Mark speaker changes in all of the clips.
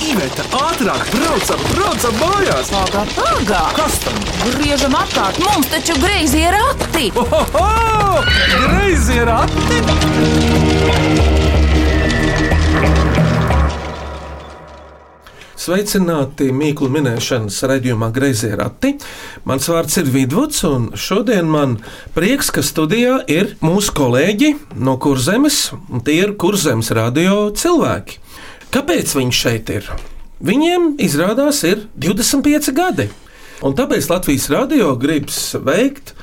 Speaker 1: Iveta, ātrāk, braucam, braucam mājās!
Speaker 2: Pagā, pagā!
Speaker 1: Kas tam?
Speaker 2: Griežam apkārt, mums taču greizi ir akti!
Speaker 1: Ohoho! Greizi ir ati!
Speaker 3: Sveicināti mīklu minēšanas raidījumā Grazījā Rati. Mans vārds ir Vidvuds, un šodien man prieks, ka studijā ir mūsu kolēģi no Kurzemes, un tie ir Kurzemes radio cilvēki. Kāpēc viņi šeit ir? Viņiem izrādās ir 25 gadi, un tāpēc Latvijas radio gribas veikt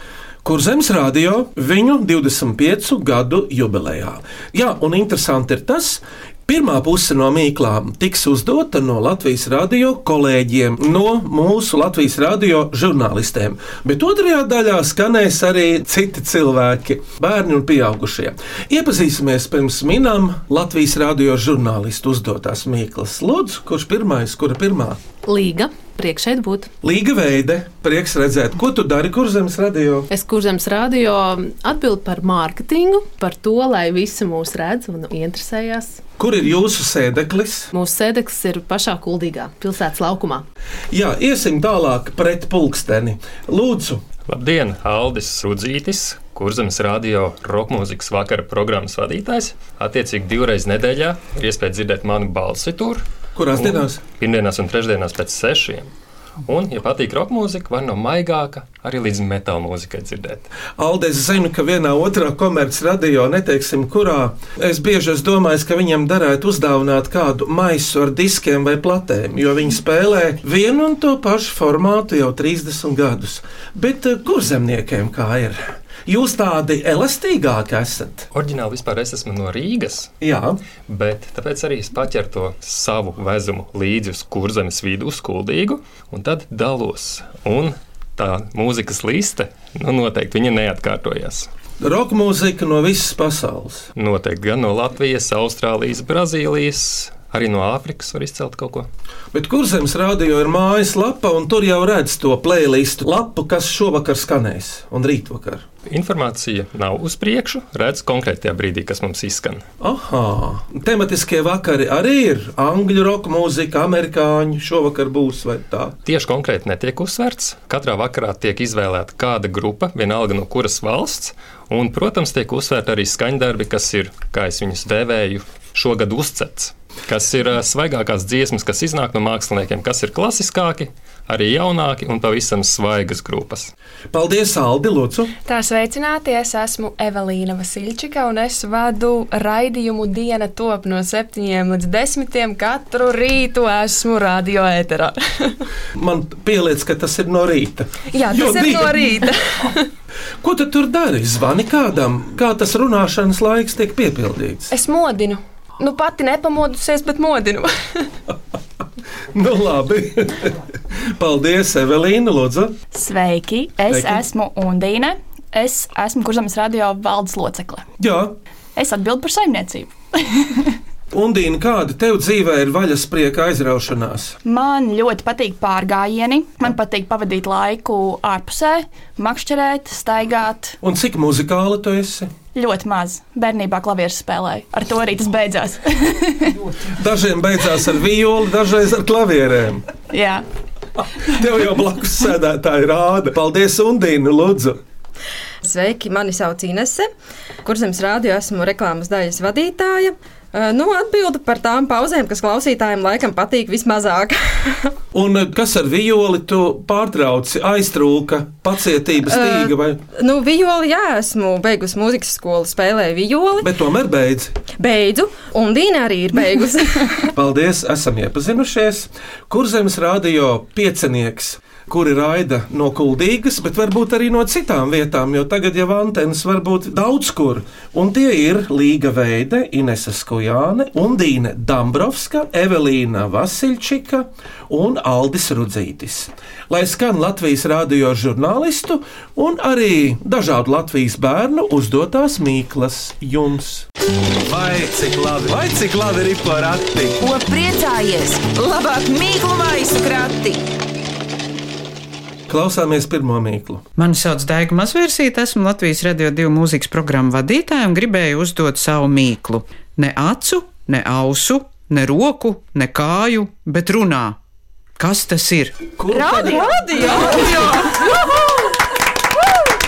Speaker 3: kur Zemes radio viņu 25 gadu jubilejā. Jā, un interesanti ir tas. Pirmā puse no mīklām tiks uzdota no Latvijas radio kolēģiem, no mūsu Latvijas radio žurnālistiem. Bet otrajā daļā skanēs arī citi cilvēki, bērni un pieaugušie. Iepazīsimies pirms minām Latvijas radio žurnālistu uzdotās mīklas. Lūdzu, kurš pirmais, kura pirmā?
Speaker 4: Līga, priekš šeit būt.
Speaker 3: Līga veide, prieks redzēt, ko tu dari, kur Zemes radio?
Speaker 4: Es kurzems radio atbildu par mārketingu, par to, lai visi mūs redz un interesējas.
Speaker 3: Kur ir jūsu sēdeklis?
Speaker 4: Mūsu sēdeklis ir pašā kuldīgā pilsētas laukumā.
Speaker 3: Jā, iesim tālāk pret pulksteni. Lūdzu,
Speaker 5: Labdien, Aldis Rudzītis, kurzemes radio rokmūzikas vakara programmas vadītājs. Attiecīgi divreiz nedēļā ir iespēja dzirdēt manu balsi tur.
Speaker 3: kurās
Speaker 5: Un
Speaker 3: dienās?
Speaker 5: Pirmdienās un trešdienās pēc sešiem. Un, ja patīk roka mūzika, var no maigāka arī līdz metāla mūzikai dzirdēt.
Speaker 3: Alde, es zinu, ka vienā otrā komercradio, neteiksim, kurā es bieži es domāju, ka viņam derētu uzdāvināt kādu maisu ar diskiem vai platēm, jo viņi spēlē vienu un to pašu formātu jau 30 gadus. Bet eh, kur zemniekiem kā ir? Jūs tādi elastīgāki esat.
Speaker 5: Orģināli vispār es esmu no Rīgas,
Speaker 3: Jā,
Speaker 5: bet tāpēc arī es paķeru to savu vezumu līdzi uz kurzemes vidu, uz kuldīgu, un tad dalos. Un tā mūzikas liste, nu noteikti viņa neatkārtojas.
Speaker 3: roka mūzika no visas pasaules.
Speaker 5: Noteikti gan no Latvijas, Austrālijas, Brazīlijas, arī no Āfrikas var izcelt kaut ko.
Speaker 3: Bet kur zemes rādio ir mājaslapa, un tur jau redz to playlistu lapu, kas šovakar skanēs un rītvakar.
Speaker 5: Informācija nav uz priekšu, redz konkrētajā brīdī, kas mums izskan.
Speaker 3: Aha, tematiskie vakari arī ir. Angļu roka mūzika, amerikāņu šovakar būs vai tā.
Speaker 5: Tieši konkrēti netiek uzsvērts. Katrā vakarā tiek izvēlēta kāda grupa, vienalga no kuras valsts, un, protams, tiek uzsvērta arī skaņdarbi, kas ir, kā es viņus dēvēju, šogad uzcēts. Kas ir ā, svaigākās dziesmas, kas iznāk no māksliniekiem, kas ir klasiskāki, arī jaunāki un pavisam svaigas grupas.
Speaker 3: Paldies, Aldi, Lūdzu!
Speaker 6: Tā sveicināti, es esmu Evelīna Vasilčika, un es vadu raidījumu Diena top no 7 līdz 10. Katru rītu esmu radio ēterā.
Speaker 3: Man pieliec, ka tas ir no rīta.
Speaker 6: Jā, tas
Speaker 3: Jo
Speaker 6: ir
Speaker 3: bija.
Speaker 6: no rīta.
Speaker 3: Ko tu tur dari? Zvani kādam, kā tas runāšanas laiks tiek piepildīts.
Speaker 6: Es modinu. Nu, pati nepamodusies, bet modinu.
Speaker 3: Nu, labi. Paldies, Evelīna, Lūdzu!
Speaker 7: Sveiki! Es
Speaker 3: Sveiki.
Speaker 7: Sveiki. esmu Undīne. Es esmu Kurzemes radio valdes locekle.
Speaker 3: Jā,
Speaker 7: Es atbildu par saimniecību.
Speaker 3: Undīna, kāda tev dzīvē ir vaļas prieka aizraušanās?
Speaker 7: Man ļoti patīk pārgājieni. Man patīk pavadīt laiku ārpusē, makšķerēt, staigāt.
Speaker 3: Un cik muzikāla tu esi?
Speaker 7: Ļoti maz. Bērnībā klavieres spēlēju. Ar to arī tas beidzās.
Speaker 3: Dažiem beidzās ar violi, dažreiz ar klavierēm.
Speaker 7: Jā.
Speaker 3: Tev jau blakus sēdētāji rāda. Paldies, Undīna, lūdzu.
Speaker 8: Sveiki, mani sauc Inese. Kurzems rādio esmu reklāmas daļas vadītāja. Eh, Nu, atbildi par tām pauzēm, kas klausītājiem laikam patīk vismazāk.
Speaker 3: Un eh, kas ar violi tu pārtrauci, aiztrūka pacietības tīga, vai,
Speaker 8: nu, violi, jā, esmu beigusi mūzikas skolu, spēlēju violi,
Speaker 3: bet tomēr beidz.
Speaker 8: beidzu, un Dīna arī ir beigusi.
Speaker 3: Paldies, esam iepazinušies. Kurzemes radio piecinieks, kuri raida no Kuldīgas, bet varbūt arī no citām vietām, jo tagad jau antenas var būt daudz kur. Un tie ir Līga Veide, Inese Skujāne, Undīne Dambrovska, Evelīna Vasilčika un Aldis Rudzītis. Lai skan Latvijas radio žurnālistu un arī dažādu Latvijas bērnu uzdotās mīklas jums.
Speaker 1: Vai cik labi, vai cik labi ir pa rati?
Speaker 2: Ko priecājies? Labāk mīklu maisu krati!
Speaker 3: Klausāmies pirmo mīklu.
Speaker 9: Mani sauc Daiga Mazvērsīte, esmu Latvijas Radio 2 mūzikas programmu vadītāja un gribēju uzdot savu mīklu. Ne acu, ne ausu, ne roku, ne kāju, bet runā. Kas tas ir?
Speaker 3: Kurpēji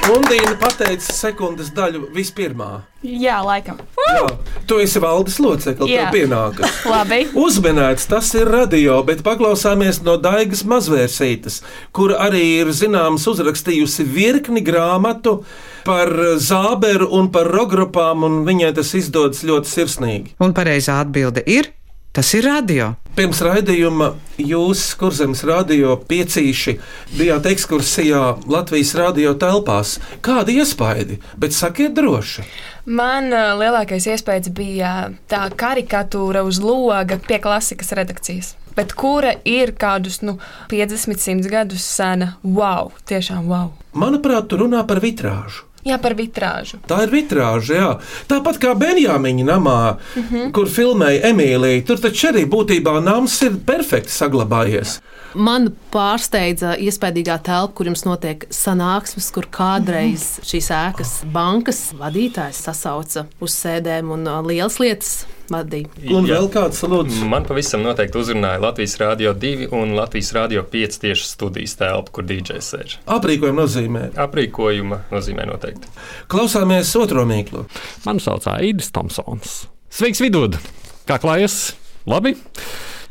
Speaker 3: Lundīna pateica sekundes daļu vispirmā.
Speaker 7: Jā, laikam.
Speaker 3: Jā, tu esi valdes locekli,
Speaker 7: Jā.
Speaker 3: tev pienākas.
Speaker 7: Labi.
Speaker 3: Uzminēts, tas ir radio, bet paklausāmies no Daigas mazvērsītes, kur arī ir zināms uzrakstījusi virkni grāmatu par eh, zāberu un par rogrupām, un viņai tas izdodas ļoti sirsnīgi.
Speaker 9: Un pareizā atbilde ir: tas ir radio.
Speaker 3: Pirms raidījuma jūs, kurzemes radio piecīši, bijāt ekskursijā Latvijas radio telpās. Kādi iespaidi, bet sakiet droši.
Speaker 6: Man ā, lielākais iespējas bija uh, tā karikatūra uz loga pie klasikas redakcijas, bet kura ir kādus nu, 50, 100 gadus sena. Wow, tiešām wow!
Speaker 3: Manuprāt, tu runā par vitrāžu.
Speaker 6: Jā, par vitrāžu.
Speaker 3: Tā ir vitrāža, jā. Tāpat kā Benjāmiņa namā, mm -hmm. kur filmēja Emīliju, tur taču arī būtībā nams ir perfekti saglabājies.
Speaker 4: Man pārsteidza iespaidīgā telpa, kur jums notiek sanāksmes, kur kādreiz šīs ēkas bankas vadītājs sasauca uz sēdēm un ā, lielas lietas vadīja.
Speaker 3: Un Jā. vēl kāds lūdzu.
Speaker 5: Man pavisam noteikti uzrunāja Latvijas Rādio 2 un Latvijas Rādio 5 tieši studijas telpa, kur DJs sēž.
Speaker 3: Aprīkojuma nozīmē.
Speaker 5: Aprīkojuma nozīmē noteikti.
Speaker 3: Klausāmies otro mīklu.
Speaker 10: Mani sauc Aidis Thompsons. Sveiks, vidūd! Kā klājas? Labi!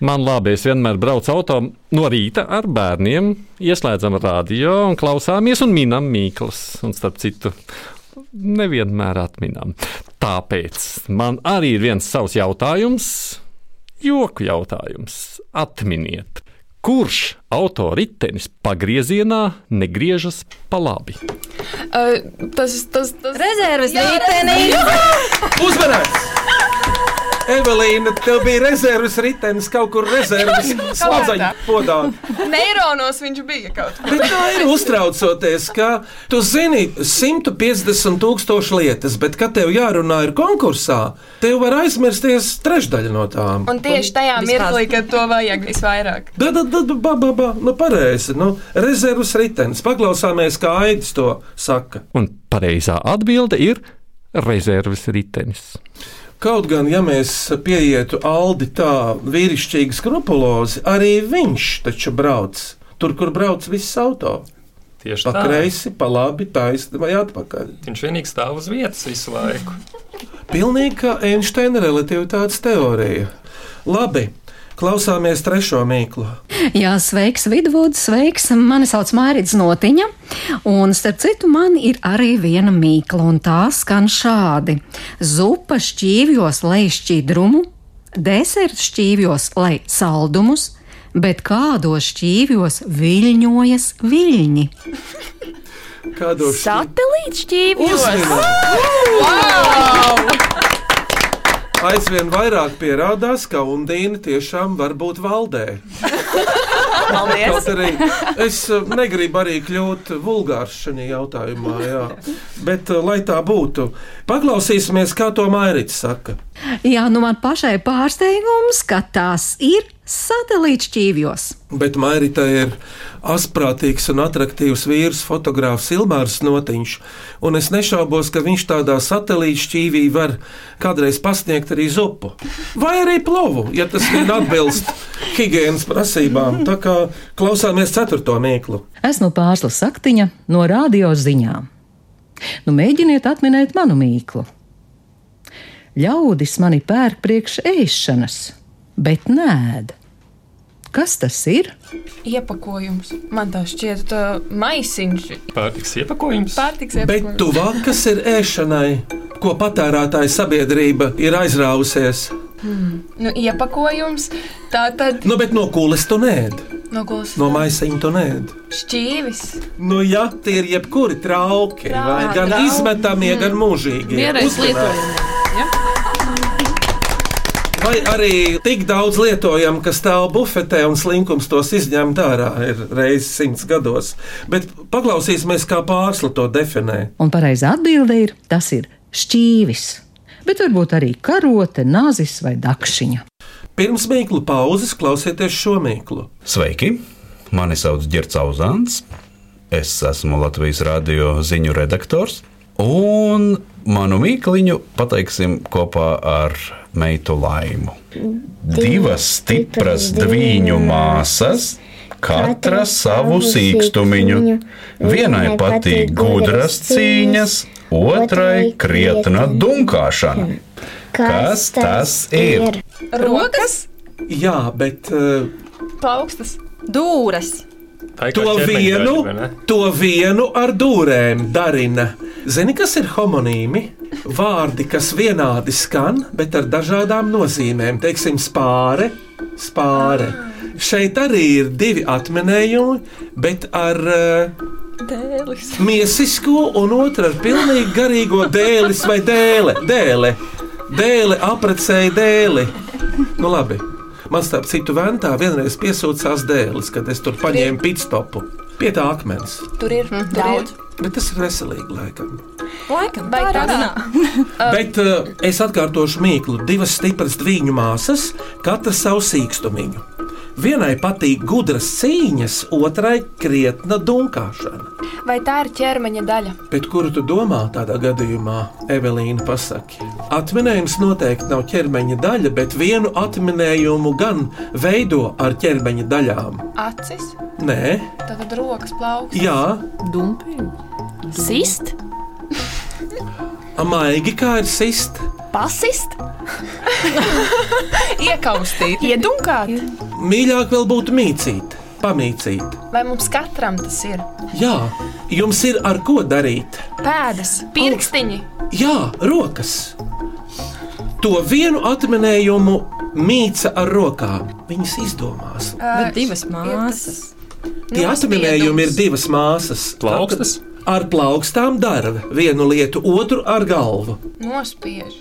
Speaker 10: Man labi, es vienmēr braucu auto no rīta ar bērniem, ieslēdzam radio un klausāmies un minam mīklas. Un starp citu, nevienmēr atminām. Tāpēc man arī ir viens savs jautājums, joku jautājums. Atminiet, kurš autoritenis pagriezienā negriežas pa labi?
Speaker 6: Uh, tas, tas, tas...
Speaker 8: Rezerves rītdienā!
Speaker 3: Uzmanīgs! Evelīna, tev bija rezerves ritenis kaut kur rezerves smadzeņu podā.
Speaker 6: Neironos viņš bija kaut kur.
Speaker 3: Bet tā ir uztraucoties, ka tu zini 150 tūkstoši lietas, bet kad tev jārunā ir konkursā, tev var aizmirsties trešdaļa no tām.
Speaker 6: Un tieši tajā mirklī, kad to vajag visvairāk.
Speaker 3: Da, da, da, da, ba, ba, ba. Nu, pareizi. Nu, rezervus ritenis. Paklausāmies, kā Aits to saka.
Speaker 10: Un pareizā atbilde ir rezerves ritenis.
Speaker 3: Kaut gan, ja mēs pieietu Aldi tā vīrišķīgi skrupulozi, arī viņš taču brauc. Tur, kur brauc viss auto,
Speaker 5: Tieši
Speaker 3: pa
Speaker 5: tā.
Speaker 3: kreisi, pa labi, taisni vai atpakaļ.
Speaker 5: Viņš vienīgi stāv uz vietas visu laiku.
Speaker 3: Pilnīgi kā Einsteina relativitātes teorija. Labi, klausāmies trešo mīklu.
Speaker 11: Jā, sveiks, Vidvuds, sveiks. Mani sauc Mārcis Notiņa, un starp citu, man ir arī viena mīkla, un tā skan šādi: zupa šķīvjos, lai šķīdrumu, deserts šķīvjos, lai saldumus, bet kādos šķīvjos viļņojas viļņi?
Speaker 3: Kādos
Speaker 7: Satelīts šķīvjos.
Speaker 3: Uzmanīgi! Aizvien vairāk pierādās, ka Undīna tiešām var būt valdē. Kaut arī es eh, negribu arī kļūt vulgārs šajā jautājumā, jā. bet eh, lai tā būtu, paklausīsimies, kā to Mairits saka.
Speaker 11: Jā, nu man pašai pārsteigums, ka tās ir satelīts šķīvjos.
Speaker 3: Bet Mairita ir asprātīgs un attraktīvs vīrs, fotogrāfs Ilmārs Notiņš. Un es nešaubos, ka viņš tādā satelīta šķīvī var kādreiz pasniegt arī zupu. Vai arī plovu, ja tas vien atbilst higiēnas prasībām. Tā kā klausāmies ceturto mīklu.
Speaker 11: Esmu pārslas saktiņa no radio ziņām. Nu, mēģiniet atminēt manu mīklu. Ļaudis mani pērk priekš ēšanas, bet nē, kas tas ir?
Speaker 6: Iepakojums. Man tā šķiet, tā maisiņš.
Speaker 5: Pārtiks iepakojums.
Speaker 6: Pārtiks
Speaker 3: Bet
Speaker 6: iepakojums.
Speaker 3: tuvāk, kas ir ēšanai, ko patērētāja sabiedrība ir aizrāvusies?
Speaker 6: Nu, iepakojums. Tā tad
Speaker 3: Nu, bet no kules tu nēd,
Speaker 6: noguls.
Speaker 3: no maisiņa tu nēd.
Speaker 6: Šķīvis.
Speaker 3: Nu, jā, tie ir jebkuri trauki. vai gan
Speaker 6: trauki. Mm.
Speaker 3: izmetamie, gan mūžīgie.
Speaker 4: Mierais
Speaker 3: Uzmanīgi.
Speaker 4: lietojumiem.
Speaker 3: Vai arī tik daudz lietojam, ka stāv bufetē un slinkums tos izņemt ārā ir reizes simts gados. Bet paklausīsimies, kā pārsla to definē.
Speaker 11: Un pareizā atbilde ir: tas ir šķīvis, bet varbūt arī karote, nāzis vai dakšiņa.
Speaker 3: Pirms mīklu pauzes klausieties šo mīklu.
Speaker 1: Sveiki! Mani sauc Girts Uzāns. Es esmu Latvijas radio ziņu redaktors. Un manu mīkliņu pateiksim kopā ar meitu Laimu. divas stipras dviņu māsas, katra savu sīkstumiņu. Vienai patīk gudras cīņas, otrai krietna dunkāšana. Kas tas ir?
Speaker 8: Rokas,
Speaker 3: Jā, bet uh,
Speaker 6: plaukstas,
Speaker 8: dūres,
Speaker 5: Tā ir
Speaker 3: to
Speaker 5: kā ķermeņdaļa,
Speaker 3: vienu,
Speaker 5: vai ne?
Speaker 3: to vienu ar dūrēm darina. Zini, kas ir homonīmi? Vārdi, kas vienādi skan, bet ar dažādām nozīmēm. Teiksim, spāre, spāre. Šeit arī ir divi atminējumi, bet ar uh,
Speaker 6: dēlis,
Speaker 3: miesisko un otru ar pilnīgi garīgo dēlis vai dēle. Dēle, dēle aprecēja dēli. Nu, labi. Man starp citu ventā vienreiz piesūcās dēlis, kad es tur paņēmu pitstopu pie tā akmens.
Speaker 6: Mhm, tur ir daudz.
Speaker 3: Bet tas ir veselīgi, laikam.
Speaker 8: laikam,
Speaker 6: Vai
Speaker 8: tā
Speaker 6: tā
Speaker 8: runā.
Speaker 3: Bet uh, es atkārtošu mīklu. Divas stipras dviņu māsas, katra savu sīkstumiņu. Vienai patīk gudras cīņas, otrai krietna dunkāšana.
Speaker 6: Vai tā ir ķermeņa daļa?
Speaker 3: Bet kuru tu domā tādā gadījumā, Evelīna, pasaki? Atminējums noteikti nav ķermeņa daļa, bet vienu atminējumu gan veido ar ķermeņa daļām.
Speaker 6: Acis,
Speaker 3: Nē,
Speaker 6: tad rokas plaukstas.
Speaker 3: jā,
Speaker 4: Dumpīgi.
Speaker 7: Sist,
Speaker 3: maigi kā ir sist.
Speaker 7: pasist,
Speaker 6: Iekaustīt.
Speaker 7: iedunkāt.
Speaker 3: Mīļāk vēl būtu mīcīt, pamīcīt.
Speaker 6: Vai mums katram tas ir?
Speaker 3: Jā, jums ir ar ko darīt.
Speaker 6: Pēdas, pirkstiņi.
Speaker 3: Jā, rokas. To vienu atminējumu mīca ar rokām. Viņas izdomās.
Speaker 8: Bet divas māsas.
Speaker 3: Tie
Speaker 6: nu,
Speaker 3: atminējumi ir divas māsas.
Speaker 5: Plaukstas?
Speaker 3: Ar plaukstām dara vienu lietu, otru ar galvu.
Speaker 6: Nospiež.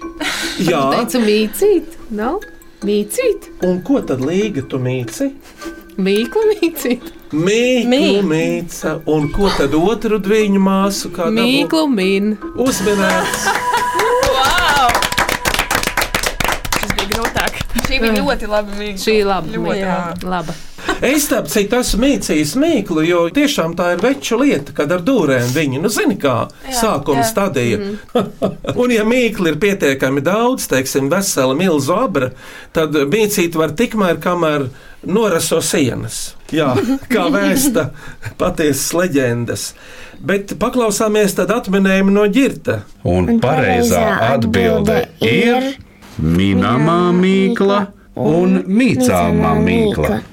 Speaker 3: Jā,
Speaker 4: Teicu mīcīt, nav? Mīcīt,
Speaker 3: un ko tad līga tu mīci?
Speaker 4: mīklu mīcīt.
Speaker 3: Mīklu mīca, un ko tad otru dviņu māsu kā
Speaker 4: Mīklu min.
Speaker 3: Uzminēts!
Speaker 6: Tas bija grūtāk. Šī bija ļoti labi mīļa.
Speaker 4: Šī laba.
Speaker 6: Ļoti
Speaker 4: mīkla, laba.
Speaker 3: Es tam citu esmu mīcījis mīklu, jo tiešām tā ir veču lieta, kad ar dūrēm viņi, nu, zina, kā sākuma
Speaker 6: jā. Mhm.
Speaker 3: stadija. Un, ja mīklu ir pietiekami daudz, teiksim, vesela milzu abra, tad mīcīt var tikmēr, kamēr noraso sienas. Jā, kā vēsta patiesas leģendas. Bet paklausāmies tad atminējumu no ģirta.
Speaker 1: Un pareizā atbilde ir minamā mīkla un mīcāmā mīkla.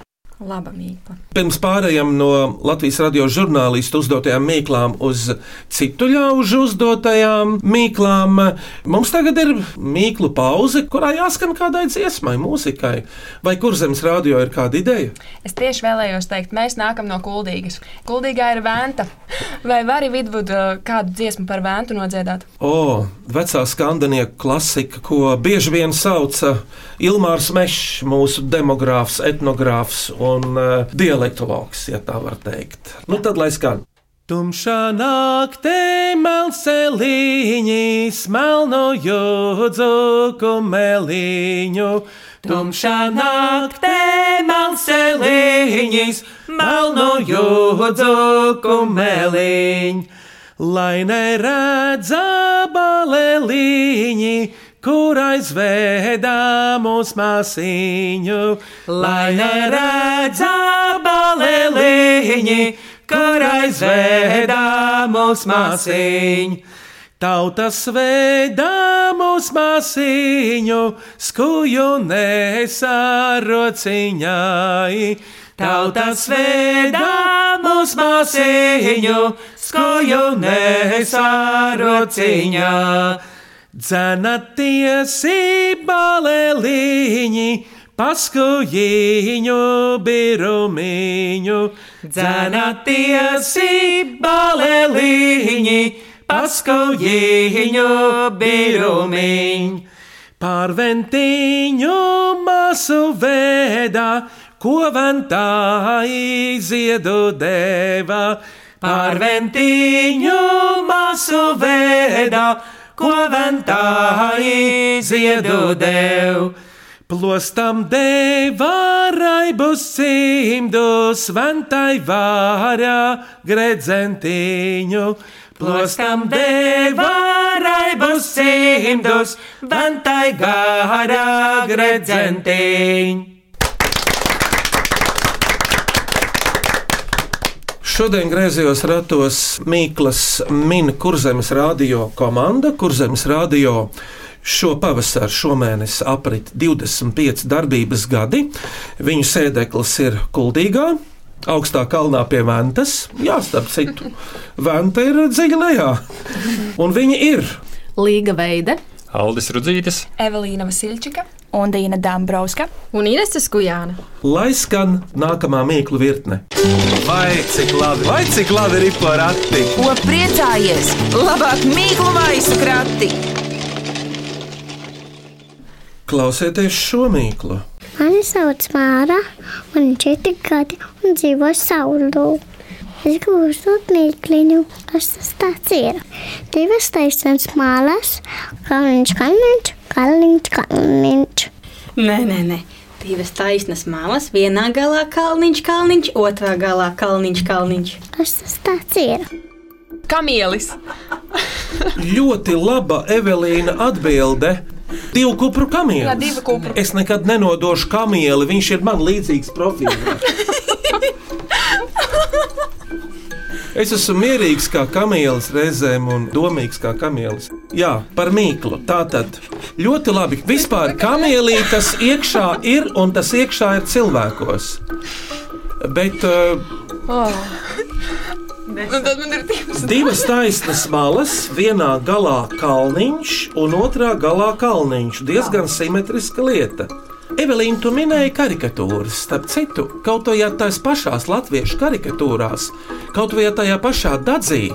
Speaker 8: Laba mīkla.
Speaker 3: Pirms pārējām no Latvijas radio žurnālistu uzdotajām mīklām uz citu ļaužu uzdotajām mīklām, mums tagad ir mīklu pauze, kurā jāskan kādai dziesmai, mūzikai. Vai kur zemes radio ir kāda ideja?
Speaker 6: Es tieši vēlējos teikt, mēs nākam no Kuldīgas. Kuldīgā ir venta. Vai vari vidvud eh, kādu dziesmu par ventu nodziedāt?
Speaker 3: O, vecā skandinieka klasika, ko bieži vien sauca Ilmārs Mešs, mūsu demogrāfs, etnogrāfs un uh, dialektologs, ja tā var teikt. Nu tad lai skan. Tumšā naktī melceliņi smelno jūdzu kumeliņu. Tumšā naktī melceliņi smelno jūdzu kumeliņu. Lai neredz abaleliņi, kur aizvedā mūsu māsīņu. Lai neredz abaleliņi, kur aizvedā mūsu māsīņu. Tautas veidā mūsu māsīņu, skuju nesarociņai. Tautas veidā mūsu māsīņu, skuju nesarociņai. Dzena tiesība leliņi, paskujiņu birumiņu. Dzena tiesība leliņi, paskujiņu birumiņu. Pārventiņu masu veidā, ko ventā iziedu deva. Pārventiņu masu veidā, ko ventā iziedu deva. Plostam devarai busim du sventai vara gredzentiņu. Plostam devarai busim du sventai vara gredzentiņu. Šodien griezījos ratos Mīklas Mīna Kurzemes radio komanda. Kurzemes radio šo pavasaru, šomēnes aprit 25 darbības gadi. Viņu sēdeklis ir Kuldīgā. Augstā kalnā pie Ventas. Jā, starp citu, Venta ir dziļi lejā. Un viņi ir
Speaker 4: Līga veide.
Speaker 5: Aldis Rudzītis,
Speaker 6: Evelīna Vasilčika.
Speaker 7: un Dīna Dāmbrauska.
Speaker 8: Un Ineses Kujāna.
Speaker 3: lai skan nākamā mīklu virkne.
Speaker 12: Vai cik labi, vai cik labi ir porakti?
Speaker 2: Ko priecājies? Labāk mīklu maisu krati!
Speaker 3: Klausieties šo mīklu.
Speaker 13: Mani sauc Māra, man ir četri gadi un dzīvo saulē. Es gribu uzdot mīkliņu, kas tas tāds ir. Divas taisnes mālas, kalniņš, kalniņš, kalniņš, kalniņš.
Speaker 14: Nē, nē, nē. Divas taisnas malas, vienā galā kalniņš, kalniņš, otrā galā kalniņš, kalniņš.
Speaker 13: Kas tas tāds ir?
Speaker 6: Kamielis.
Speaker 3: Ļoti laba Evelīna atbilde. Divu kupru kamielis.
Speaker 6: Jā, divu kupru.
Speaker 3: Es nekad nenodošu kamieli, viņš ir man līdzīgs profils. Es esmu mierīgs kā kamielis reizēm un domīgs kā kamielis. Jā, par mīklu. Tā tad ļoti labi. Vispār kamielī tas iekšā ir un tas iekšā ir cilvēkos. Bet uh,
Speaker 6: Oh. Nu, tad man ir divas.
Speaker 3: Divas taisnas malas, vienā galā kalniņš un otrā galā kalniņš. Diezgan simetriska lieta. Evelīna, tu minēji karikatūras, starp citu, kaut vai tās pašās latviešu karikatūrās, kaut vai tajā pašā dadzī,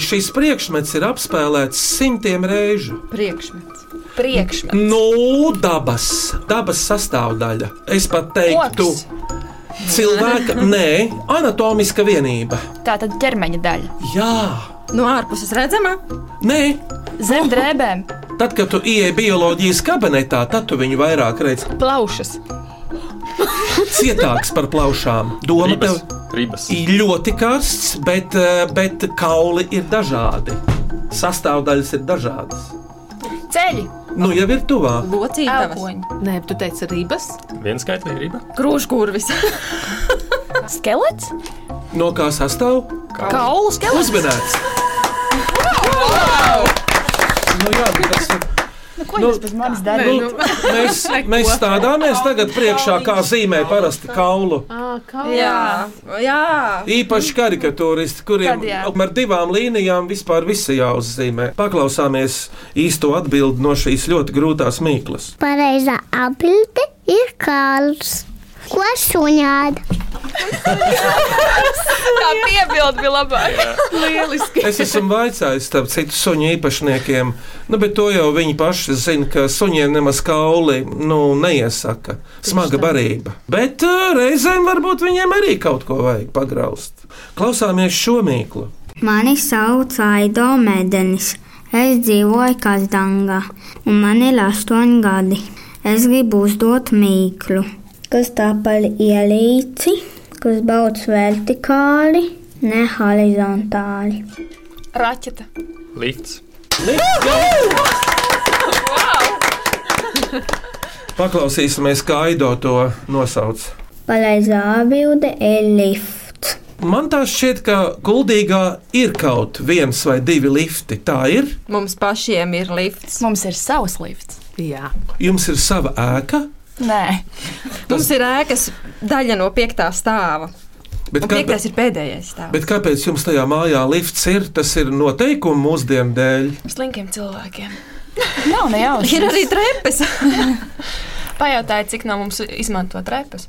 Speaker 3: šis priekšmets ir apspēlēts simtiem reižu.
Speaker 8: Priekšmets.
Speaker 6: Priekšmets.
Speaker 3: Nu, dabas, dabas sastāvdaļa. Es pat teiktu, cilvēka, nē, anatomiska vienība.
Speaker 7: Tā tad ķermeņa daļa.
Speaker 3: Jā,
Speaker 8: No ārpuses redzama?
Speaker 3: nē,
Speaker 7: Zem drēbēm.
Speaker 3: Tad, kad tu ienāc bioloģijas kabinetā, tad tu viņu vairāk redzi
Speaker 6: Plaušas.
Speaker 3: cietāks par plaušām. Doma tev
Speaker 5: Ribas.
Speaker 3: ir ļoti karsts, bet, eh, bet kauli ir dažādi. Sastāvdaļas ir dažādas.
Speaker 6: Ceļi.
Speaker 3: Nu, jau ir tuvāk.
Speaker 6: Locītavas.
Speaker 4: Nē, tu teici rības.
Speaker 5: viens skaitlī riba.
Speaker 8: Krūškurvis.
Speaker 7: Skelets?
Speaker 3: No kā sastāv?
Speaker 7: Kaulu skelets.
Speaker 3: Uzmanīts! Nu, jā, tas ir.
Speaker 7: Nu, ko
Speaker 3: Nu,
Speaker 7: jūs bez manis darāt?
Speaker 3: Nu, mēs, mēs stādāmies tagad priekšā, kā zīmē parasti kaulu.
Speaker 8: Jā, jā.
Speaker 3: Īpaši karikatūristi, kuriem
Speaker 8: Tad jā.
Speaker 3: ar divām līnijām vispār viss ir jāuzzīmē. Paklausāmies īsto atbildi no šīs ļoti grūtās mīklas.
Speaker 13: Pareizā atbilde ir kāls. Ko suņāda?
Speaker 6: Tā piebilde bija labāka. Lieliski.
Speaker 3: Es esmu vaicājis starp citu suņu īpašniekiem, nu, bet to jau viņi paši zina, ka suņiem nemaz kauli nu, neiesaka. Smaga barība. Bet ā, reizēm varbūt viņiem arī kaut ko vajag pagraust. Klausāmies šo mīklu.
Speaker 15: Mani sauc Aido Mēdenis. Es dzīvoju Kazdangā, un man ir astoņi gadi. Es gribu uzdot mīklu. Kas tā par ielīci, kas bauc vertikāli, ne horizontāli?
Speaker 6: Raķete.
Speaker 5: Lifts.
Speaker 3: Paklausīsimies, kā Aido to nosauc.
Speaker 15: Pareizā atbilde ir lifts.
Speaker 3: Man tā šķiet, ka Guldīgā ir kaut viens vai divi lifti. Tā ir.
Speaker 8: Mums pašiem ir lifts.
Speaker 7: Mums ir savs lifts.
Speaker 4: Jā.
Speaker 3: Jums ir sava ēka,
Speaker 7: Nē,
Speaker 8: Mums ir ēkas daļa no piektā stāva.
Speaker 3: bet,
Speaker 8: Un piektais ir pēdējais stāvs.
Speaker 3: bet kāpēc jums tajā mājā lifts ir? Tas ir noteikumi mūsdienu dēļ.
Speaker 6: Slinkiem cilvēkiem.
Speaker 7: nav nejauši.
Speaker 8: Ir arī trepes.
Speaker 6: Pajautājiet, cik no mums izmanto trepas.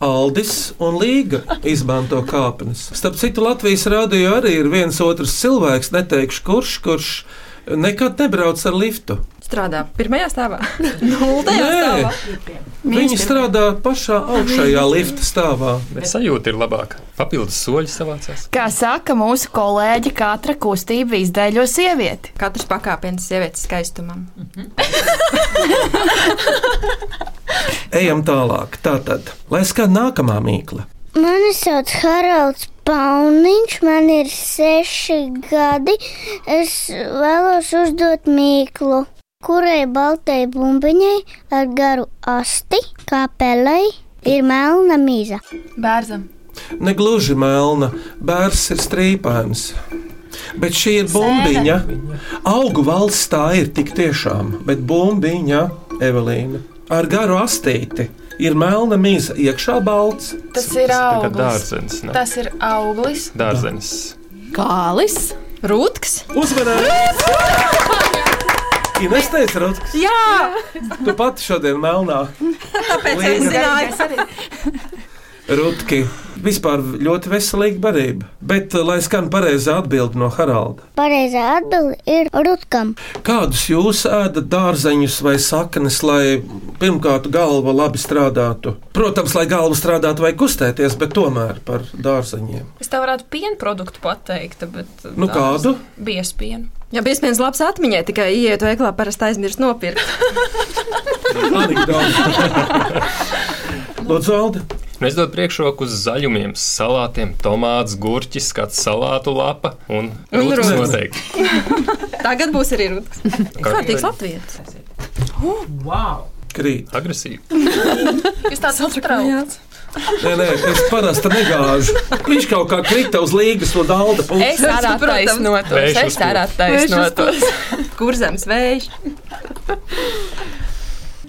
Speaker 3: Aldis un Līga izmanto kāpnes. Starp citu, Latvijas rādio arī ir viens otrs cilvēks, neteikšu kurš, kurš nekad nebrauc ar liftu.
Speaker 8: strādā? Pirmajā stāvā? Nultajā stāvā.
Speaker 3: Viņi strādā pašā augšējā lifta stāvā.
Speaker 5: Bet sajūta ir labāka. Papildus soļi savācās.
Speaker 16: Kā saka mūsu kolēģi, katra kustība izdeļo sievieti.
Speaker 8: Katrs pakāpiens sievietes skaistumam.
Speaker 3: Ejam tālāk. Tātad, lai skan nākamā mīkla.
Speaker 13: Mani sauc Haralds Pauniņš, man ir seši gadi. Es vēlos uzdot mīklu, kurai baltai bumbiņai ar garu asti, kā pelei, ir melna mīza.
Speaker 6: Bērzam.
Speaker 3: Negluži melna, bērns ir strīpēns. Bet šī ir bumbiņa. Augu valsts tā ir tik tiešām, bet bumbiņa, Evelīna, ar garu astīti ir melna mīza, iekšā balts.
Speaker 6: Tas ir
Speaker 5: Tā kā
Speaker 6: auglis.
Speaker 5: dārzens. ne?
Speaker 6: Tas ir auglis.
Speaker 5: Dārzenis.
Speaker 4: Kālis,
Speaker 8: Rūtks.
Speaker 3: Uzmanības! Ines teica, Rutgers,
Speaker 8: Jā,
Speaker 3: tu pati šodien melnā.
Speaker 8: tāpēc
Speaker 3: Līga.
Speaker 8: es zināju.
Speaker 3: Rutki, vispār ļoti veselīga barība. Bet, eh, lai skan pareizā atbilde no Haralda,
Speaker 13: Pareizā atbilde ir rutkam.
Speaker 3: kādus jūs ēdat dārzeņus vai saknes, lai pirmkārt galva labi strādātu? Protams, lai galva strādātu vai kustēties, bet tomēr par dārzeņiem.
Speaker 6: Es tev varētu pienu produktu pateikt, bet.
Speaker 3: Nu, kādu?
Speaker 6: Biespienu.
Speaker 8: Jā, bija spēļas labs atmiņā, tikai ieiet veiklā parasti aizmirst nopirkt.
Speaker 3: Lūdzu, Alde.
Speaker 5: Nu, es dodu priekšroku uz zaļumiem, salātiem, tomātus, gurķis, kāds salātu lapa un
Speaker 8: Un
Speaker 5: rūtas
Speaker 8: rūtas.
Speaker 5: noteikti.
Speaker 8: Tagad būs arī Rūtks.
Speaker 5: Kā-
Speaker 8: Kārtīgs latvijas.
Speaker 3: Wow! Krīt.
Speaker 5: Agresīvi.
Speaker 6: Es tāds uztraucos.
Speaker 3: Nē, nē, es parasti negāžu. Viņš kaut kā krita uz līgas no dārza
Speaker 6: Es
Speaker 3: puses.
Speaker 6: arī taisnotos.
Speaker 3: Vējš
Speaker 6: Es
Speaker 3: uz kur.
Speaker 6: arī
Speaker 8: Vējš uz kur.
Speaker 6: taisnotos.
Speaker 8: Kur zemes vējš?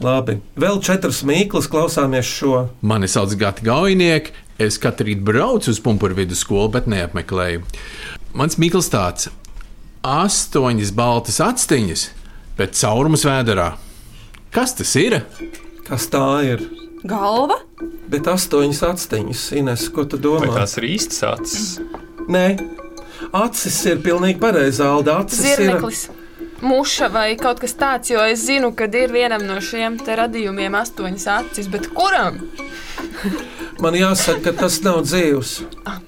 Speaker 3: Labi, vēl četras mīklas klausāmies šo.
Speaker 17: Mani sauc Gati Gaujnieks. Es katru rītu braucu uz pumpuru vidusskolu, bet neapmeklēju. Mans mīkls tāds - astoņas baltas atsteņas, bet caurumus vēderā. Kas tas ir?
Speaker 3: Kas tā ir?
Speaker 8: Galva?
Speaker 3: Bet astoņas atsteņas, Ines, ko tu domā?
Speaker 5: Vai tās ir īstas acis?
Speaker 3: Nē, acis ir pilnīgi pareizā alda. Acis
Speaker 6: Zirneklis. Muša vai kaut kas tāds, jo es zinu, ka ir vienam no šiem te radījumiem astoņas acis, bet kuram?
Speaker 3: ir. Man jāsaka, ka tas nav dzīvs.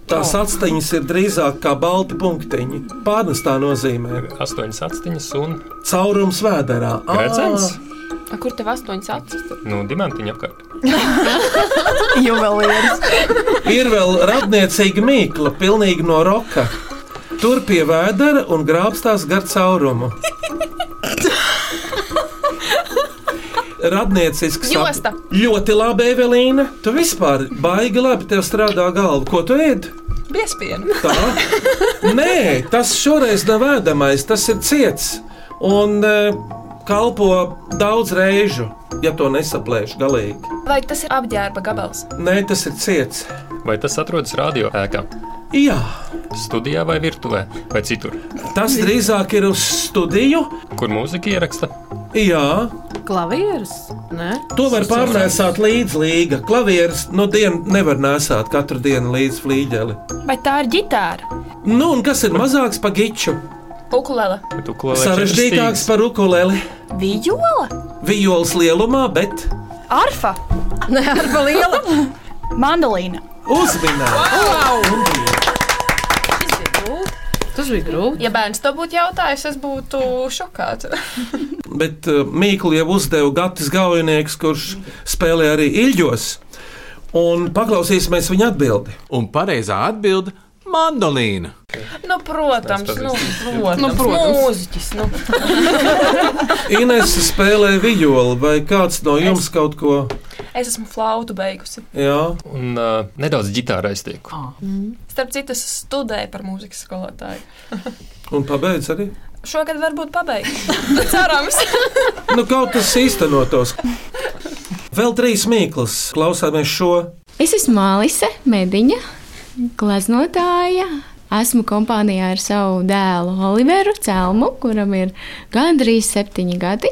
Speaker 3: Tās atsteņas ir drīzāk kā balti punktiņi. Pārnestā nozīmē
Speaker 5: Astoņas atsteņas un
Speaker 3: caurums vēderā. Ah, Ā!
Speaker 5: redzams.
Speaker 6: A, kur tev astoņas acis?
Speaker 5: Nu, diamantiņa apkārt.
Speaker 6: Juvelieris.
Speaker 3: Ir vēl radniecīga mīkla, pilnīgi no roka. Tur pie vēdera un grābstās gar caurumu. Radniecisks. ap-
Speaker 6: Josta.
Speaker 3: Ļoti labi, Evelīna. Tu vispār baigi labi tev strādā galva. Ko tu ēd?
Speaker 6: Biespienu.
Speaker 3: Tā? Nē, tas šoreiz nav ēdamais, tas ir ciets. Un eh, kalpo daudz reižu, ja to nesaplēšu galīgi.
Speaker 6: Vai tas ir apģērba gabals?
Speaker 3: Nē, tas ir ciets.
Speaker 5: Vai tas atrodas radio ēkā?
Speaker 3: Jā.
Speaker 5: Studijā vai virtuvē vai citur?
Speaker 3: Tas drīzāk ir uz studiju.
Speaker 5: Kur mūzika ieraksta?
Speaker 3: Jā,
Speaker 4: klavieris. Nē?
Speaker 3: to var pārnēsāt līdz līga. Klavieris no dienas nevar nēsāt katru dienu līdz flīģeli.
Speaker 6: Vai tā ir ģitāra?
Speaker 3: Nu, un kas ir mazāks par giču?
Speaker 6: Ukulele.
Speaker 3: Sarežģītāks par ukuleli.
Speaker 16: Vijola?
Speaker 3: Vijols lielumā, bet
Speaker 16: Arfa?
Speaker 8: Nē, arfa liela.
Speaker 16: Mandolīna.
Speaker 3: uzminēts.
Speaker 4: Tas bija grūti.
Speaker 6: Ja bērns to būtu jautājis, es būtu šokāta.
Speaker 3: Bet uh, Mīklu jau uzdeva Gatis Gaujnieks, kurš spēlē arī ilģos. Un paklausīsimies viņa atbildi.
Speaker 17: Un pareizā atbilde - mandolīna.
Speaker 6: Nu, protams, nu, protams,
Speaker 17: Nu,
Speaker 6: nu,
Speaker 17: protams.
Speaker 6: protams. mūziķis. Nu.
Speaker 3: Ines spēlē vijoli, vai kāds no jums kaut ko?
Speaker 6: Es esmu flautu beigusi.
Speaker 3: Jā.
Speaker 5: Un uh, nedaudz ģitāra aiztieku.
Speaker 6: Starp citu, es studēju par mūzikas skolotāju.
Speaker 3: Un pabeidz arī.
Speaker 6: Šogad varbūt pabeigšu. Cerams.
Speaker 3: Nu, kaut kas īstenotos. Vēl trīs mīklas, klausāmies šo.
Speaker 18: Es esmu Alise, mediņa, gleznotāja. Esmu kompānijā ar savu dēlu Oliveru Celmu, kuram ir gandrīz septiņi gadi.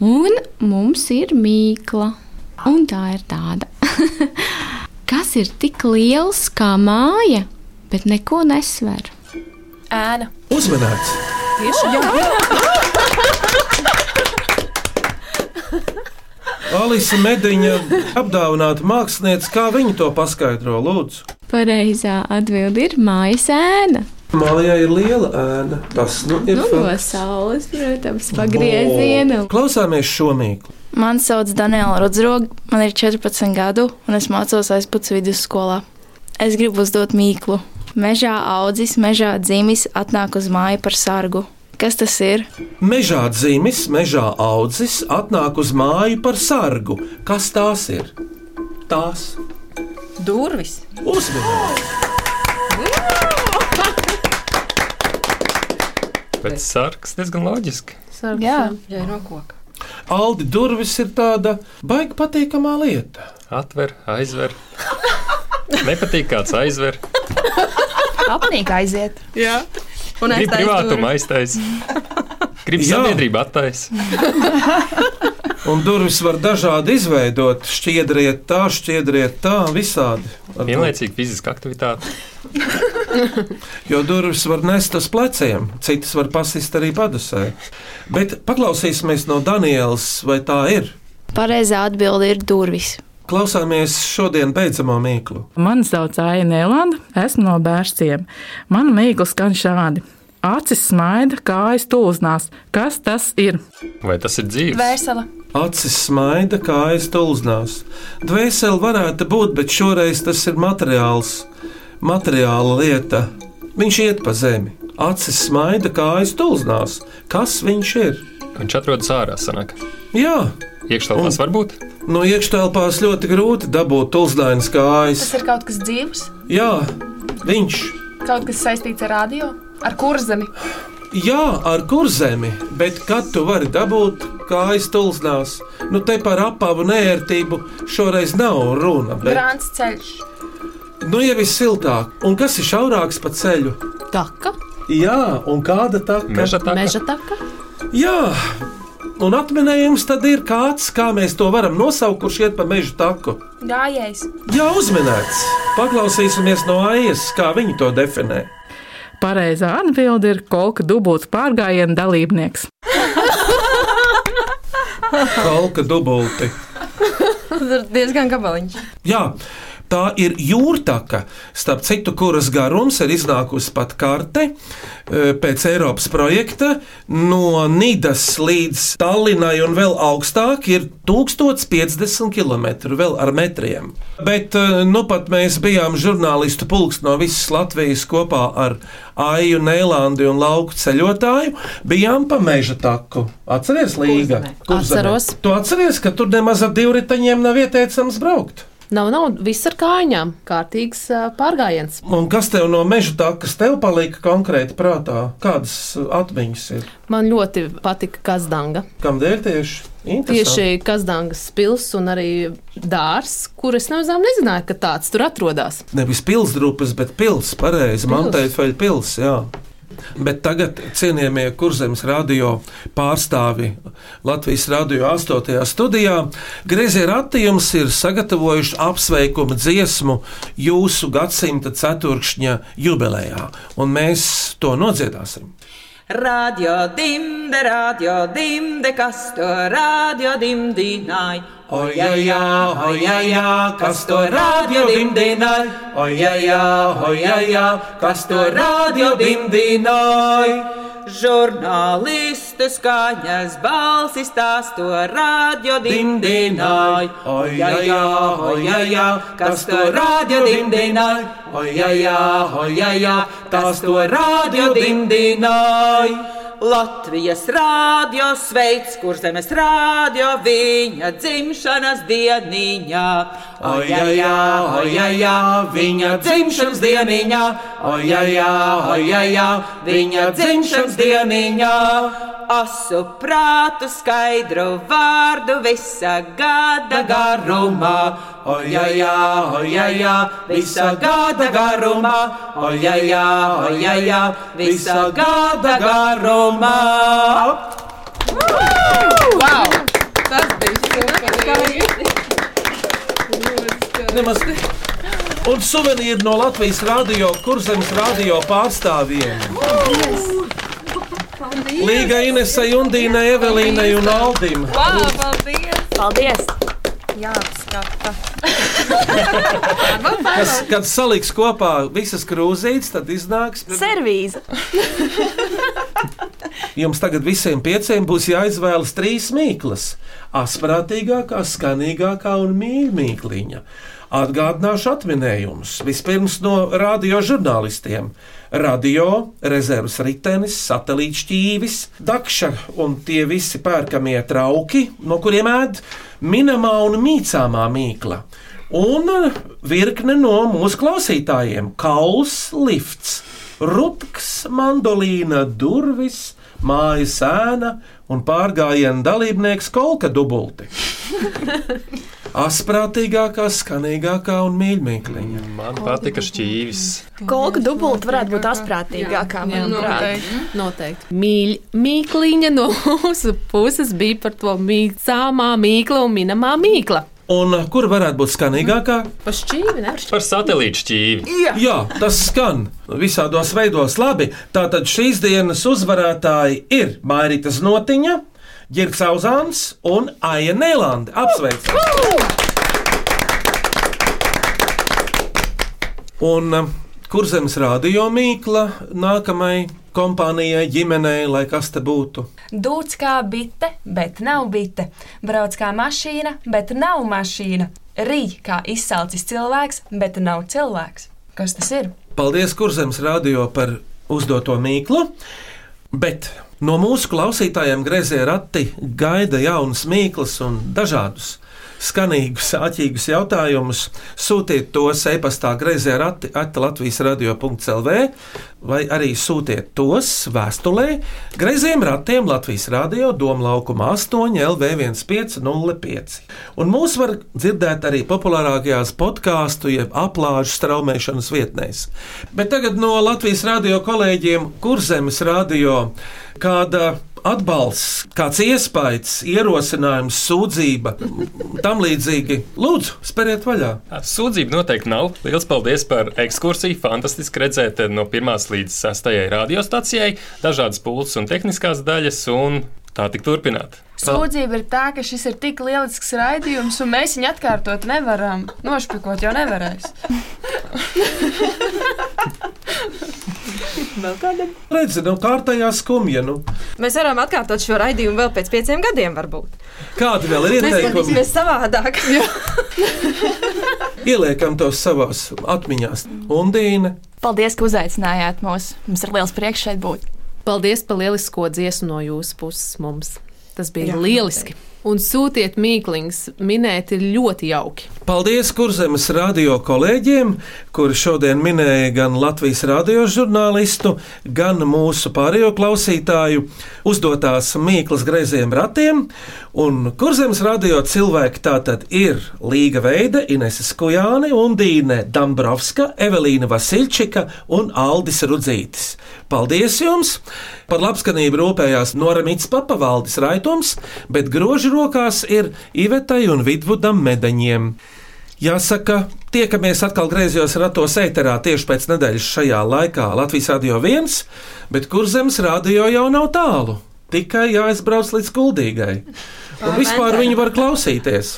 Speaker 18: Un mums ir mīkla. Un tā ir tāda. Kas ir tik liels kā māja, bet neko nesver?
Speaker 6: Ēna.
Speaker 3: Uzmanīts!
Speaker 6: Tieši tā.
Speaker 3: Alisa Mediņa apdāvināta mākslinieca, kā viņa to paskaidro, lūdzu.
Speaker 18: Pareizā atbilde ir mājas ēna.
Speaker 3: Mālijā ir liela ēna. Tas nu, ir
Speaker 18: Nu, no
Speaker 3: fakts.
Speaker 18: saules, protams, pagrieziena.
Speaker 3: O, Klausāmies šo mīklu.
Speaker 16: Mani sauc Daniela Rodzroga, man ir 14 gadu, un es mācos aizpats vidusskolā. Es gribu uzdot mīklu. Mežā audzis, mežā dzimis, atnāk uz māju par sargu. Kas tas ir?
Speaker 3: Mežā dzīvis, mežā audzis, atnāk uz māju par sargu. Kas tās ir? Tās
Speaker 8: Durvis.
Speaker 3: uzmanības.
Speaker 5: Bet sarks diezgan loģiski.
Speaker 8: Jā, jā, ir no koka.
Speaker 3: Aldi durvis ir tāda baigta patīkamā lieta.
Speaker 5: Atver, aizver. Nepatīk kāds aizver.
Speaker 6: Apnīk aiziet.
Speaker 8: Jā. Un
Speaker 5: Grib privātumu aiztais. Grib
Speaker 3: Jā.
Speaker 5: sabiedrību attais.
Speaker 3: Un durvis var dažādi izveidot. Šķiedriet tā, šķiedriet tā, visādi. Ar
Speaker 5: Vienlaicīgi fiziska aktivitāte.
Speaker 3: Jo durvis var nest uz pleciem, citas var pasist arī padusē. Bet paklausīsimies no Danielas, vai tā ir.
Speaker 16: Pareizā atbilde ir durvis.
Speaker 3: Klausāmies šodien beidzamo mīklu.
Speaker 19: Mani sauc Aina Elanda, esmu no bērniem. Mana mīkla skan šādi. Acis smaida, kājas tūznās. Kas tas ir?
Speaker 5: Vai tas ir dzīves?
Speaker 6: Vēsela.
Speaker 3: Acis smaida, kājas tulznās. Dvēseli varētu būt, bet šoreiz tas ir materiāls, materiāla lieta. Viņš iet pa zemi. Acis smaida, kājas tulznās. Kas viņš ir?
Speaker 5: Viņš atrodas ārā, sanāk.
Speaker 3: Jā,
Speaker 5: Iekštelpās var būt.
Speaker 3: no iekštelpās ļoti grūti dabūt tulzdainas kājas.
Speaker 6: Tas ir kaut kas dzīves,
Speaker 3: Jā, viņš.
Speaker 6: kaut kas saistīts ar radio, ar kurzemi.
Speaker 3: Jā, ar kurzemi, bet kad tu vari dabūt kājas tulznās, nu te par apavu nērtību šoreiz nav runa. Bet,
Speaker 6: Grāns ceļš.
Speaker 3: nu, ja viss siltāk, un kas ir šaurāks pa ceļu?
Speaker 4: Taka,
Speaker 3: Jā, un kāda tā
Speaker 4: meža taka.
Speaker 3: Jā, un atminējums tad ir kāds, kā mēs to varam nosaukt, kurš iet pa meža taku.
Speaker 6: Gājējs.
Speaker 3: Jā, uzminēts. Paklausīsimies no AIS, kā viņi to definē.
Speaker 19: Pareizā atbilde ir kolka dubultas pārgājiena dalībnieks.
Speaker 3: Kalka dubulti.
Speaker 8: Tas ir diezgan gabaliņš.
Speaker 3: Jā, tā ir jūrtaka, starp citu, kuras garums ir iznākusi pat karte e, pēc Eiropas projekta. No Nīdas līdz Tallinai un vēl augstāk ir 1050 km, vēl ar metriem. Bet e, nu pat mēs bijām žurnālistu pulks no visas Latvijas kopā ar Aiju, Nēlandi un lauku ceļotāju. Bijām pa meža taku. Atceries, Līga? Kurzemē.
Speaker 4: Atceros.
Speaker 3: Tu atceries, ka tur nemaz ar divriteņiem nav ieteicams braukt?
Speaker 4: Nav, nav viss ar kājām. Kārtīgs ā, pārgājiens.
Speaker 3: Un kas tev no meža tā, kas tev palika konkrēti prātā? Kādas uh, atmiņas ir?
Speaker 4: Man ļoti patika Kazdanga.
Speaker 3: Kam dēļ tieši? Interesanti.
Speaker 4: Tieši Kazdangas pils un arī dārs, kur es nemazām nezināju, ka tāds tur atrodas.
Speaker 3: Nevis pilsdrupas, bet pils, pareizi, Manteifeļa pils, jā. Bet tagad, cienījamie kurzemes radio pārstāvi Latvijas radio 8. studijā, Griezie Ratījums ir sagatavojuši apsveikuma dziesmu jūsu gadsimta ceturkšņa jubilejā, un mēs to nodziedāsim.
Speaker 2: Radio dimde, radio dimde, kas to radio dimdināja.
Speaker 12: Ojajā, ojajā, kas to radio dimdināja? Ojajā, ojajā, kas to radio dimdināja?
Speaker 2: Žurnālistu skaņas balsis tās to radio dimdināja.
Speaker 12: Ojajā, ojajā, kas to radio dimdināja? Ojajā, ojajā, kas to radio dimdināja?
Speaker 2: Latvijas rādio sveic, kur zemes rādio viņa dzimšanas dieniņā.
Speaker 12: Ojajā, ojajā, viņa dzimšanas dieniņā, ojajā, ojajā, viņa dzimšanas dieniņā.
Speaker 2: Asu prātu skaidru vārdu visa gada garumā.
Speaker 12: Ojajā, ojajā, visa gada garumā, ojajā, ojajā, visa gada garumā.
Speaker 2: Wow! Tas bija skaisti!
Speaker 3: Nemaz. Un suvenīri no Latvijas radio, kurzemes radio pārstāvjiem. Līga Inesai, Jundīnai, Evelīnai un Aldim.
Speaker 6: Wow, paldies! Paldies! jāapskata.
Speaker 3: Kas, kad saliks kopā visas krūzītes, tad iznāks.
Speaker 6: Servīze.
Speaker 3: Jums tagad visiem pieciem būs jāizvēlas trīs mīklas. Asprātīgākā, skanīgākā un mīkliņa. Atgādināšu atminējumus. Vispirms no radiožurnālistiem. Radio, rezerves ritenis, satelīts šķīvis, dakša un tie visi pērkamie trauki, no kuriem ēd minamā un mīcāmā mīkla. Un eh, virkne no mūsu klausītājiem - kauls, lifts, rupks, mandolīna, durvis, mājas sēna un pārgājienu dalībnieks kolka dubulti. Asprātīgākā, skanīgākā un mīļākā.
Speaker 5: Man patika šķīvis.
Speaker 6: Kolka dubulta varētu būt asprātīgākā.
Speaker 4: Jā,
Speaker 6: manuprāt.
Speaker 4: noteikti. noteikti. Mīļ, mīkliņa no mūsu puses bija par to mīkāmā mīkla un minamā mīkla.
Speaker 3: Un eh, kur varētu būt skanīgākā?
Speaker 4: Par šķīvi, ne?
Speaker 5: Par satelītu šķīvi.
Speaker 3: Jā. Jā, tas skan visādos veidos labi. Tātad šīs dienas uzvarētāji ir Mairita Znotiņa, Girks Auzāns un Aija Nēlanda. Apsveicam! Un um, kur zemes rādio mīkla nākamajai kompānijai, ģimenei, lai kas te būtu?
Speaker 6: Dūts kā bite, bet nav bite. Brauc kā mašīna, bet nav mašīna. Rīķis kā izsalcis cilvēks, bet nav cilvēks. Kas tas ir?
Speaker 3: Paldies, Kurzems Radio par uzdoto mīklu. Bet no mūsu klausītājiem grezē rati gaida jaunas mīklas un dažādus. Skanīgus, āķīgus jautājumus sūtiet tos e-pastā grazē rati atlatvijas radio.clv vai arī sūtiet tos vēstulē grazējiem ratiem Latvijas radio Doma laukuma 8 LV1505. Un mūs var dzirdēt arī populārākajās podkāstu jeb aplāžu straumēšanas vietnēs. Bet tagad no Latvijas radio kolēģiem Kurzemes radio kāda atbalsts, kāds iespējas, ierosinājums, sūdzība, tam līdzīgi. Lūdzu, spēriet vaļā!
Speaker 5: Sūdzība noteikti nav. Lielas paldies par ekskursiju. Fantastiski redzēt eh, no 1 līdz 6 radiostacijai dažādas pulces un tehniskās daļas, un tā tik turpināt.
Speaker 6: Sūdzība ir tā, ka šis ir tik lielisks raidījums, un mēs viņu atkārtot nevaram. Nošpikot jau nevarēs.
Speaker 3: Redzi, nu kārtējā skumja. Nu.
Speaker 8: Mēs varam atkārtot šo raidījumu vēl pēc pieciem gadiem, varbūt.
Speaker 3: Kādi vēl ir
Speaker 8: Mēs
Speaker 3: ieteikumi?
Speaker 8: skatīsimies savādāk.
Speaker 3: Ieliekam tos savās atmiņās. Undīne,
Speaker 20: Paldies, ka uzaicinājāt mūs. Mums ir liels prieks šeit būt.
Speaker 4: Paldies par lielisko dziesmu no jūsu puses mums. Tas bija
Speaker 20: Jā,
Speaker 4: Jā, lieliski. Un sūtiet mīkliņus, minēt ir ļoti jauki.
Speaker 3: Paldies Kurzemes radio kolēģiem, kuri šodien minēja gan Latvijas radiožurnālistu, gan mūsu pārējo klausītāju uzdotās mīklas greiziem ratiem. Un Kurzemes radio cilvēki tātad ir Līga Veida, Inese Skujāne, Undīne Dambrovska, Evelīna Vasilčika un Aldis Rudzītis. Paldies jums! Par labskanību rūpējās Noramīts Papavaldis Raitums, bet groži rokās ir Ivetai un Vidvudam Medaņiem. Jāsaka, tiekamies atkal griezos ratos ēterā tieši pēc nedēļas šajā laikā Latvijas radio viens, bet kur zemes radio jau nav tālu. Tikai jāizbrauc līdz kuldīgai. Un vispār viņu var klausīties.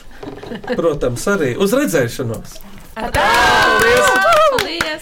Speaker 3: Protams, arī uz redzēšanos.
Speaker 2: Paldies! Paldies!